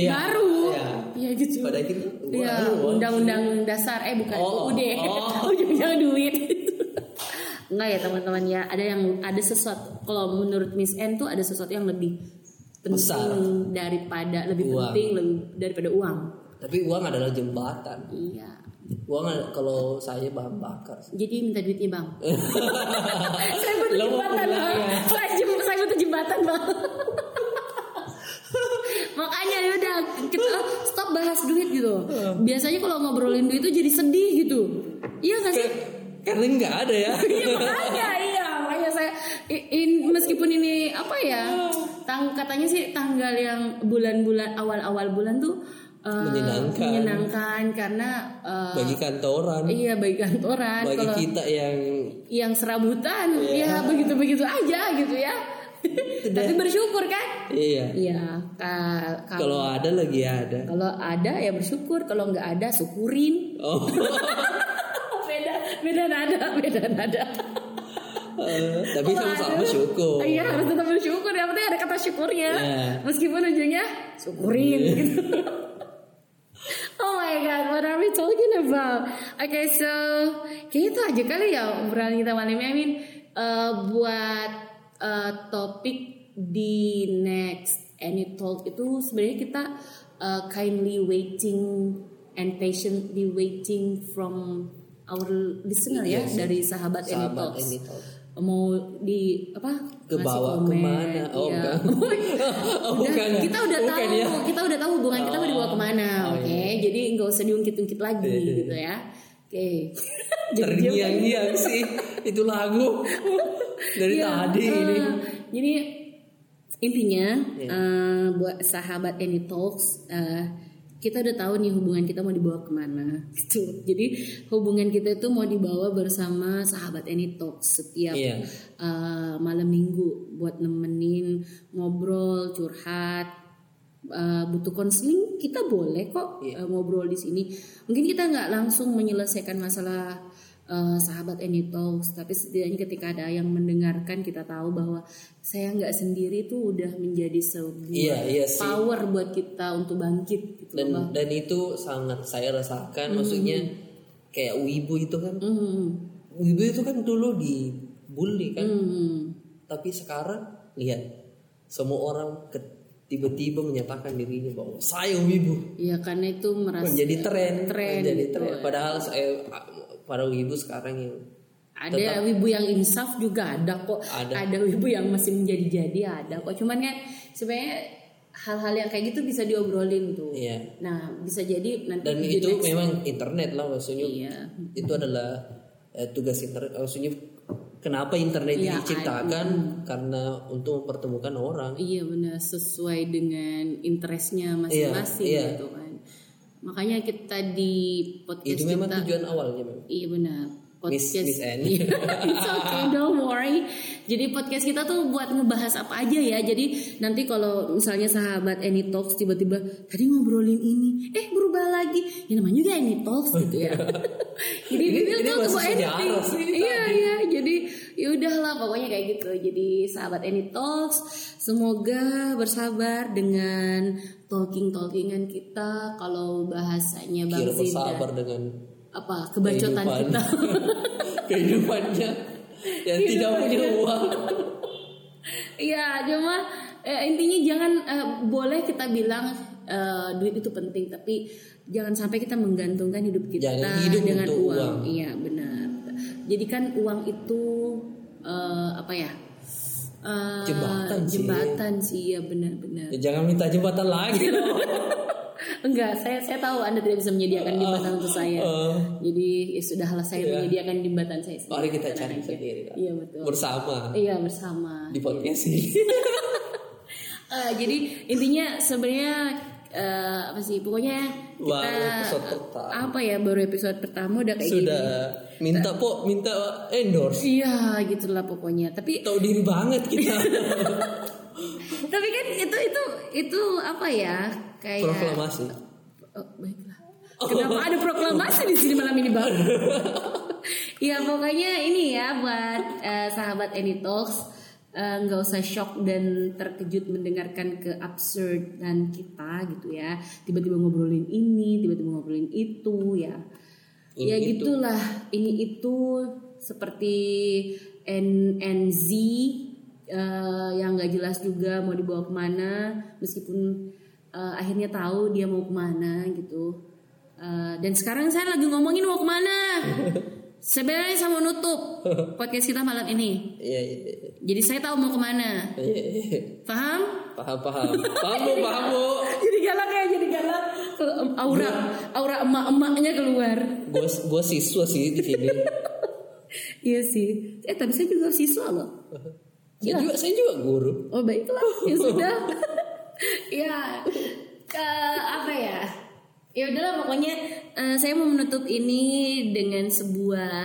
[SPEAKER 2] Iya,
[SPEAKER 1] baru.
[SPEAKER 2] iya.
[SPEAKER 1] Iya gitu.
[SPEAKER 2] Pada akhirnya uang.
[SPEAKER 1] Iya,
[SPEAKER 2] uang.
[SPEAKER 1] undang-undang dasar eh bukan
[SPEAKER 2] Oh,
[SPEAKER 1] UUD. [laughs]
[SPEAKER 2] oh.
[SPEAKER 1] Ujungnya duit. Enggak ya teman-teman ya, ada yang ada sesuatu kalau menurut Miss N tuh ada sesuatu yang lebih penting
[SPEAKER 2] Besar.
[SPEAKER 1] daripada lebih
[SPEAKER 2] Uang.
[SPEAKER 1] penting lebih, daripada uang.
[SPEAKER 2] Tapi uang adalah jembatan.
[SPEAKER 1] Iya.
[SPEAKER 2] Uang ada- kalau saya bahan bakar. sih.
[SPEAKER 1] Jadi minta duitnya
[SPEAKER 2] [laughs]
[SPEAKER 1] bang. saya butuh
[SPEAKER 2] Lo mau
[SPEAKER 1] jembatan
[SPEAKER 2] pulang
[SPEAKER 1] bang.
[SPEAKER 2] ya?
[SPEAKER 1] Saya, jem- saya butuh jembatan bang. [laughs] Makanya ya udah kita stop bahas duit gitu.
[SPEAKER 2] Hmm.
[SPEAKER 1] Biasanya kalau ngobrolin duit itu jadi sedih gitu. Iya gak
[SPEAKER 2] [laughs]
[SPEAKER 1] sih?
[SPEAKER 2] Karena nggak ada ya.
[SPEAKER 1] Iya makanya iya makanya saya i- in- meskipun ini apa ya
[SPEAKER 2] Hmm.
[SPEAKER 1] tang katanya sih tanggal yang bulan-bulan awal-awal bulan tuh eh,
[SPEAKER 2] Menyenangkan.
[SPEAKER 1] menyenangkan karena eh,
[SPEAKER 2] [laughs] Bagi kantoran.
[SPEAKER 1] iya bagi kantoran
[SPEAKER 2] Bagi
[SPEAKER 1] kalau
[SPEAKER 2] kita yang
[SPEAKER 1] yang serabutan ya begitu-begitu aja gitu ya tapi bersyukur kan
[SPEAKER 2] Iya.
[SPEAKER 1] iya ka- ka-
[SPEAKER 2] Kalau ada lagi ada.
[SPEAKER 1] kalau ada ya bersyukur kalau nggak ada syukurin [laughs]
[SPEAKER 2] Oh. [laughs]
[SPEAKER 1] beda beda nada beda nada
[SPEAKER 2] eh, tapi
[SPEAKER 1] Kalau
[SPEAKER 2] sama-sama
[SPEAKER 1] ada-
[SPEAKER 2] syukur.
[SPEAKER 1] iya harus tetap bersyukur yang penting ada kata syukurnya
[SPEAKER 2] Iya.
[SPEAKER 1] meskipun ujungnya syukurin gitu [laughs] Oh my god, what are we talking about? Oke, so kayak itu aja kali ya obrolan kita malam ini. I mean, eh, buat eh, topik di next any talk itu sebenarnya kita eh, kindly waiting and patiently waiting from our listener ya dari sahabat, any
[SPEAKER 2] Sahabat
[SPEAKER 1] talks.
[SPEAKER 2] ini talk.
[SPEAKER 1] Mau di apa?
[SPEAKER 2] Ke
[SPEAKER 1] ngasih
[SPEAKER 2] bawah,
[SPEAKER 1] komen,
[SPEAKER 2] kemana? Oh,
[SPEAKER 1] iya.
[SPEAKER 2] enggak.
[SPEAKER 1] [laughs] Udah,
[SPEAKER 2] Oh, bukan ya.
[SPEAKER 1] kita udah
[SPEAKER 2] Bukan
[SPEAKER 1] tahu
[SPEAKER 2] ya. Oh.
[SPEAKER 1] kita udah tahu hubungan kita mau dibawa kemana, oke? Jadi nggak usah diungkit-ungkit lagi
[SPEAKER 2] Iya.
[SPEAKER 1] gitu ya, oke? [laughs] Jadi dia-
[SPEAKER 2] Terngiang-ngiang sih itu
[SPEAKER 1] [laughs]
[SPEAKER 2] lagu dari
[SPEAKER 1] Iya,
[SPEAKER 2] tadi
[SPEAKER 1] eh,
[SPEAKER 2] ini.
[SPEAKER 1] Jadi intinya
[SPEAKER 2] Iya.
[SPEAKER 1] eh, buat sahabat Any Talks, eh, kita udah tahu nih hubungan kita mau dibawa kemana, [laughs] gitu. Jadi hubungan kita itu mau dibawa bersama sahabat Any Talks setiap
[SPEAKER 2] Iya.
[SPEAKER 1] eh, malam minggu buat nemenin ngobrol, curhat. eh, butuh konseling kita boleh kok
[SPEAKER 2] Iya.
[SPEAKER 1] eh, ngobrol di sini mungkin kita nggak langsung menyelesaikan masalah eh, sahabat Any Talks tapi setidaknya ketika ada yang mendengarkan kita tahu bahwa saya nggak sendiri tuh udah menjadi sebuah
[SPEAKER 2] Iya, iya sih.
[SPEAKER 1] power buat kita untuk bangkit gitu loh,
[SPEAKER 2] Dan dan itu sangat saya rasakan maksudnya
[SPEAKER 1] Hmm.
[SPEAKER 2] kayak wibu itu kan.
[SPEAKER 1] Bang. Mm,
[SPEAKER 2] Wibu itu kan dulu dibully kan.
[SPEAKER 1] mm.
[SPEAKER 2] Tapi sekarang
[SPEAKER 1] Iya.
[SPEAKER 2] lihat semua orang ke- tiba-tiba menyatakan dirinya bahwa saya wibu.
[SPEAKER 1] Iya, karena itu merasa
[SPEAKER 2] menjadi tren,
[SPEAKER 1] tren
[SPEAKER 2] menjadi
[SPEAKER 1] gitu.
[SPEAKER 2] tren. Padahal saya para wibu sekarang yang
[SPEAKER 1] Ada wibu yang insaf juga ada kok.
[SPEAKER 2] Ada.
[SPEAKER 1] wibu yang masih menjadi-jadi ada kok. Cuman kan sebenarnya hal-hal yang kayak gitu bisa diobrolin tuh.
[SPEAKER 2] Iya.
[SPEAKER 1] Nah, bisa jadi nanti
[SPEAKER 2] dan
[SPEAKER 1] jadi next-
[SPEAKER 2] itu memang internet lah maksudnya
[SPEAKER 1] Iya.
[SPEAKER 2] itu adalah eh, tugas internet maksudnya kenapa internet ini
[SPEAKER 1] Iya,
[SPEAKER 2] diciptakan karena untuk mempertemukan orang
[SPEAKER 1] Iya benar sesuai dengan interestnya masing-masing
[SPEAKER 2] Iya, iya.
[SPEAKER 1] gitu kan. Makanya kita di podcast
[SPEAKER 2] itu memang
[SPEAKER 1] Iya, kita
[SPEAKER 2] tujuan awalnya memang
[SPEAKER 1] Iya benar.
[SPEAKER 2] Miss-
[SPEAKER 1] Podcast
[SPEAKER 2] Miss Anne.
[SPEAKER 1] Iya, it's okay, don't worry. Jadi podcast kita tuh buat ngebahas apa aja ya. Jadi nanti kalau misalnya sahabat Any Talks tiba-tiba tadi ngobrolin ini, eh berubah lagi. Ya namanya juga Any Talks gitu
[SPEAKER 2] [laughs]
[SPEAKER 1] ya. jadi
[SPEAKER 2] Ini-
[SPEAKER 1] Bibil
[SPEAKER 2] ini
[SPEAKER 1] tuh
[SPEAKER 2] masih
[SPEAKER 1] about
[SPEAKER 2] sejarah
[SPEAKER 1] anything.
[SPEAKER 2] sih tadi.
[SPEAKER 1] Iya iya. Jadi ya udahlah pokoknya kayak gitu. Jadi sahabat Any Talks semoga bersabar dengan talking talkingan kita kalau bahasanya Bang
[SPEAKER 2] kira
[SPEAKER 1] Zidan
[SPEAKER 2] bersabar dengan
[SPEAKER 1] apa kebacotan
[SPEAKER 2] Kehidupan.
[SPEAKER 1] kita
[SPEAKER 2] [laughs]
[SPEAKER 1] [laughs]
[SPEAKER 2] kehidupannya yang tidak punya uang
[SPEAKER 1] Iya, cuma eh, intinya jangan eh, boleh kita bilang eh, duit itu penting, tapi jangan sampai kita menggantungkan hidup kita
[SPEAKER 2] Jangan hidup
[SPEAKER 1] dengan
[SPEAKER 2] untuk
[SPEAKER 1] uang.
[SPEAKER 2] uang.
[SPEAKER 1] Iya, benar. Jadikan uang itu eh, apa ya? Eh,
[SPEAKER 2] Jembatan sih.
[SPEAKER 1] jembatan sih, iya benar-benar.
[SPEAKER 2] Ya, jangan minta jembatan lagi dong.
[SPEAKER 1] Enggak, saya saya tahu Anda tidak bisa menyediakan
[SPEAKER 2] Ah,
[SPEAKER 1] jembatan untuk saya.
[SPEAKER 2] eh.
[SPEAKER 1] Jadi ya sudahlah saya
[SPEAKER 2] Iya.
[SPEAKER 1] menyediakan jembatan saya sendiri.
[SPEAKER 2] mari kita
[SPEAKER 1] Tenang
[SPEAKER 2] cari
[SPEAKER 1] aja.
[SPEAKER 2] sendiri lah.
[SPEAKER 1] Iya betul.
[SPEAKER 2] bersama
[SPEAKER 1] Iya bersama.
[SPEAKER 2] di podcast ini
[SPEAKER 1] Eh, jadi intinya sebenarnya eh, apa sih pokoknya kita
[SPEAKER 2] Baru episode pertama.
[SPEAKER 1] apa ya baru episode pertama udah kayak
[SPEAKER 2] [laughs] sudah minta po minta endorse
[SPEAKER 1] gini. Iya gitulah pokoknya. Tapi
[SPEAKER 2] tahu diri banget [laughs] kita
[SPEAKER 1] tapi kan itu itu itu apa ya
[SPEAKER 2] Iya.
[SPEAKER 1] kayak
[SPEAKER 2] proklamasi
[SPEAKER 1] Oh, baiklah. Kenapa ada proklamasi di sini malam ini bang? ya pokoknya ini ya buat eh, sahabat Any Talks eh, nggak usah shock dan terkejut mendengarkan ke absurd dan kita gitu ya. Tiba-tiba ngobrolin ini, tiba-tiba ngobrolin itu ya.
[SPEAKER 2] Ini
[SPEAKER 1] ya
[SPEAKER 2] itu.
[SPEAKER 1] gitulah. Ini itu seperti N NZ eh, yang nggak jelas juga mau dibawa kemana meskipun eh, akhirnya tahu dia mau kemana gitu. Eh, dan sekarang saya lagi ngomongin mau [laughs] kemana. Sebenarnya saya mau nutup podcast kita malam ini.
[SPEAKER 2] Iya, iya, iya.
[SPEAKER 1] Jadi saya tahu mau kemana.
[SPEAKER 2] Iya, iya.
[SPEAKER 1] Paham?
[SPEAKER 2] paham paham paham bu paham bu
[SPEAKER 1] Jadi galak ya, jadi galak. Em, Aura aura emak-emaknya keluar. [laughs]
[SPEAKER 2] gue gue siswa sih di sini
[SPEAKER 1] Iya sih. Eh tapi saya juga siswa loh.
[SPEAKER 2] saya juga saya juga guru
[SPEAKER 1] Oh baiklah, ya sudah. ya, ke apa ya? Ya udahlah pokoknya eh, saya mau menutup ini dengan sebuah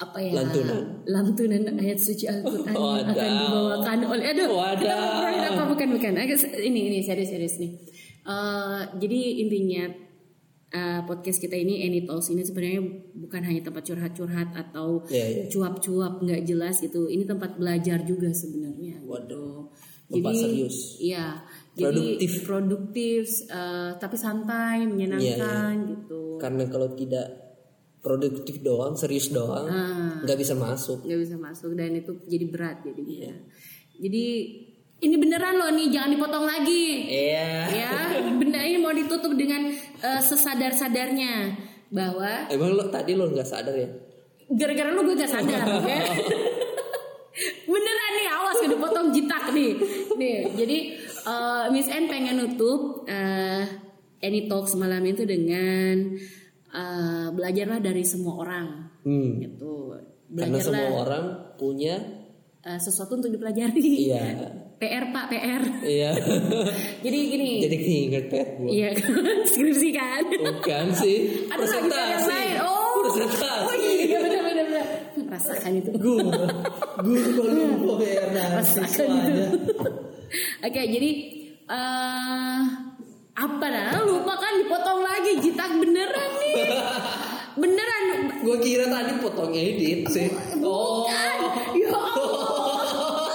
[SPEAKER 1] apa ya?
[SPEAKER 2] Lantunan.
[SPEAKER 1] Lantunan ayat suci Al-Qur'an yang
[SPEAKER 2] Wadah.
[SPEAKER 1] akan dibawakan oleh aduh,
[SPEAKER 2] Wadah.
[SPEAKER 1] kita ngobrolin apa Oh, bukan bukan. Agak se- ini ini serius-serius nih. Eh, jadi intinya eh, podcast kita ini Any Talks ini sebenarnya bukan hanya tempat curhat-curhat atau
[SPEAKER 2] Iya, iya.
[SPEAKER 1] cuap-cuap nggak jelas gitu. Ini tempat belajar juga sebenarnya. Waduh.
[SPEAKER 2] Tempat serius.
[SPEAKER 1] Iya.
[SPEAKER 2] Produktif. Iya,
[SPEAKER 1] Jadi produktif, eh, tapi santai, menyenangkan gitu.
[SPEAKER 2] karena kalau tidak produktif doang serius doang nggak bisa masuk
[SPEAKER 1] Nggak bisa masuk dan itu jadi berat jadi.
[SPEAKER 2] Iya.
[SPEAKER 1] Jadi ini beneran loh nih, jangan dipotong lagi.
[SPEAKER 2] iya
[SPEAKER 1] Ya, benda ini mau ditutup dengan eh, sesadar-sadarnya bahwa
[SPEAKER 2] emang lo tadi lo nggak sadar ya
[SPEAKER 1] gara-gara lu gue gak
[SPEAKER 2] [laughs]
[SPEAKER 1] sadar oke? beneran nih awas gue dipotong jitak nih nih jadi eh, Miss N pengen nutup eh, Any Talks malam itu dengan eh, belajarlah dari semua orang
[SPEAKER 2] hmm.
[SPEAKER 1] gitu
[SPEAKER 2] karena semua
[SPEAKER 1] belajarlah
[SPEAKER 2] orang punya
[SPEAKER 1] eh, sesuatu untuk dipelajari
[SPEAKER 2] iya
[SPEAKER 1] PR pak PR
[SPEAKER 2] iya [laughs]
[SPEAKER 1] jadi gini
[SPEAKER 2] jadi keinget pet gue
[SPEAKER 1] iya [laughs] skripsi kan
[SPEAKER 2] bukan sih
[SPEAKER 1] [laughs] ada lagi yang lain oh oh
[SPEAKER 2] presentasi
[SPEAKER 1] iya benar-benar rasakan itu
[SPEAKER 2] guru guru kalau mau bayar
[SPEAKER 1] Rasakan itu. Oke, jadi eh apa dah? Lupa kan dipotong lagi jitak beneran nih. Beneran.
[SPEAKER 2] Gue kira tadi potong edit sih. Oh,
[SPEAKER 1] Ya Allah.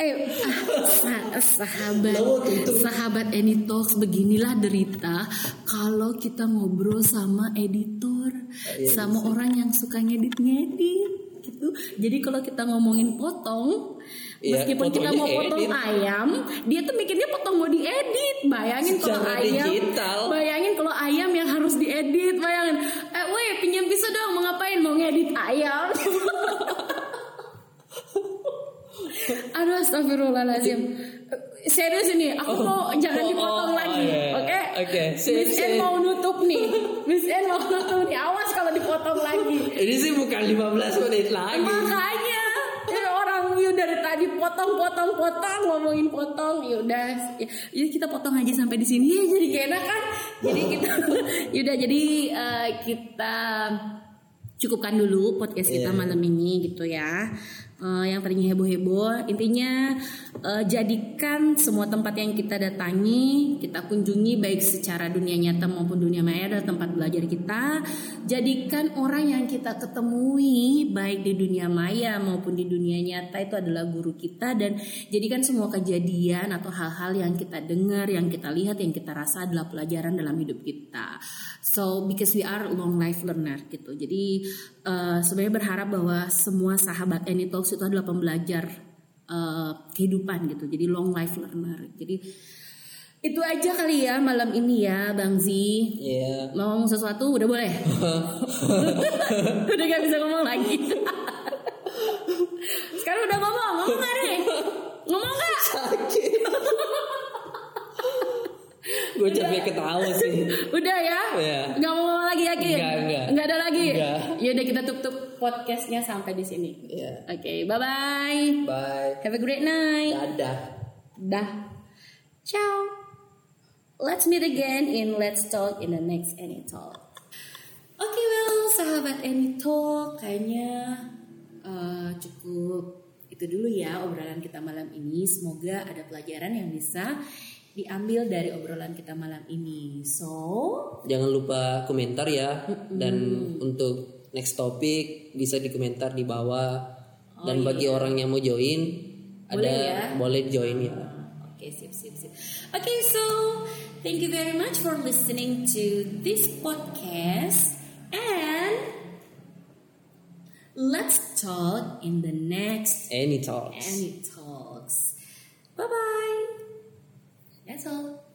[SPEAKER 1] Eh, ah, sa- sahabat,
[SPEAKER 2] Lawa tuh itu.
[SPEAKER 1] sahabat Any Talks beginilah derita kalau kita ngobrol sama editor,
[SPEAKER 2] Iya,
[SPEAKER 1] sama orang yang suka ngedit-ngedit gitu. Jadi kalau kita ngomongin potong,
[SPEAKER 2] Iya,
[SPEAKER 1] meskipun kita
[SPEAKER 2] potongnya
[SPEAKER 1] mau potong
[SPEAKER 2] edit.
[SPEAKER 1] ayam, dia tuh mikirnya potong mau diedit. Bayangin kalau
[SPEAKER 2] Secara
[SPEAKER 1] ayam,
[SPEAKER 2] digital.
[SPEAKER 1] bayangin kalau ayam [laughs] yang harus diedit, bayangin. Eh, weh, pinjam pisau dong, mau ngapain? Mau ngedit ayam? Astagfirullahaladzim. Serius ini, aku mau jangan
[SPEAKER 2] oh,
[SPEAKER 1] dipotong
[SPEAKER 2] oh,
[SPEAKER 1] lagi,
[SPEAKER 2] iya, iya.
[SPEAKER 1] oke?
[SPEAKER 2] Oke, sip,
[SPEAKER 1] Miss N
[SPEAKER 2] sip.
[SPEAKER 1] mau nutup nih, Miss N mau nutup nih. Awas kalau dipotong lagi.
[SPEAKER 2] Ini sih bukan 15 menit lagi.
[SPEAKER 1] Makanya ya orang you dari tadi potong potong potong ngomongin potong yaudah ya, ya kita potong aja sampai di sini [laughs] ya jadi kayak enak kan jadi kita [laughs] yaudah jadi eh, kita cukupkan dulu podcast
[SPEAKER 2] Iya,
[SPEAKER 1] kita malam ini gitu ya Eh, yang tadinya heboh-heboh intinya eh, jadikan semua tempat yang kita datangi kita kunjungi baik secara dunia nyata maupun dunia maya adalah tempat belajar kita jadikan orang yang kita ketemui baik di dunia maya maupun di dunia nyata itu adalah guru kita dan jadikan kan semua kejadian atau hal-hal yang kita dengar yang kita lihat yang kita rasa adalah pelajaran dalam hidup kita so because we are long life learner gitu jadi eh, sebenarnya berharap bahwa semua sahabat Any Talks itu adalah pembelajar eh, kehidupan gitu. Jadi long life learner. Jadi itu aja kali ya malam ini ya Bang Zi.
[SPEAKER 2] Iya.
[SPEAKER 1] Mau ngomong sesuatu udah
[SPEAKER 2] [laughs]
[SPEAKER 1] boleh. udah gak bisa ngomong lagi. Sekarang udah ngomong, ngomong gak nih? Ngomong gak?
[SPEAKER 2] Gue
[SPEAKER 1] Iya.
[SPEAKER 2] capek ketawa
[SPEAKER 1] [laughs]
[SPEAKER 2] sih.
[SPEAKER 1] Udah ya?
[SPEAKER 2] Iya.
[SPEAKER 1] Nggak mau ngomong lagi yakin?
[SPEAKER 2] Nggak, nggak.
[SPEAKER 1] ada lagi?
[SPEAKER 2] Nggak.
[SPEAKER 1] Yaudah kita tutup podcastnya sampai di sini.
[SPEAKER 2] Iya.
[SPEAKER 1] Oke, bye-bye.
[SPEAKER 2] Bye.
[SPEAKER 1] Have a great night.
[SPEAKER 2] Dadah.
[SPEAKER 1] Dah. Ciao. Let's meet again in Let's Talk in the next Any Talk. Oke, well, sahabat Any Talk, kayaknya eh, cukup itu dulu ya obrolan kita malam ini. Semoga ada pelajaran yang bisa diambil dari obrolan kita malam ini. So,
[SPEAKER 2] Jangan lupa komentar ya. Dan untuk next topic bisa dikomentar di bawah. Dan bagi orang yang mau join,
[SPEAKER 1] Oh, iya.
[SPEAKER 2] ada
[SPEAKER 1] Boleh ya.
[SPEAKER 2] boleh join ya.
[SPEAKER 1] Okay, sip, sip, sip. Okay, so thank you very much for listening to this podcast and let's talk in the next
[SPEAKER 2] Any talks.
[SPEAKER 1] Any Talks. Bye bye. That's all.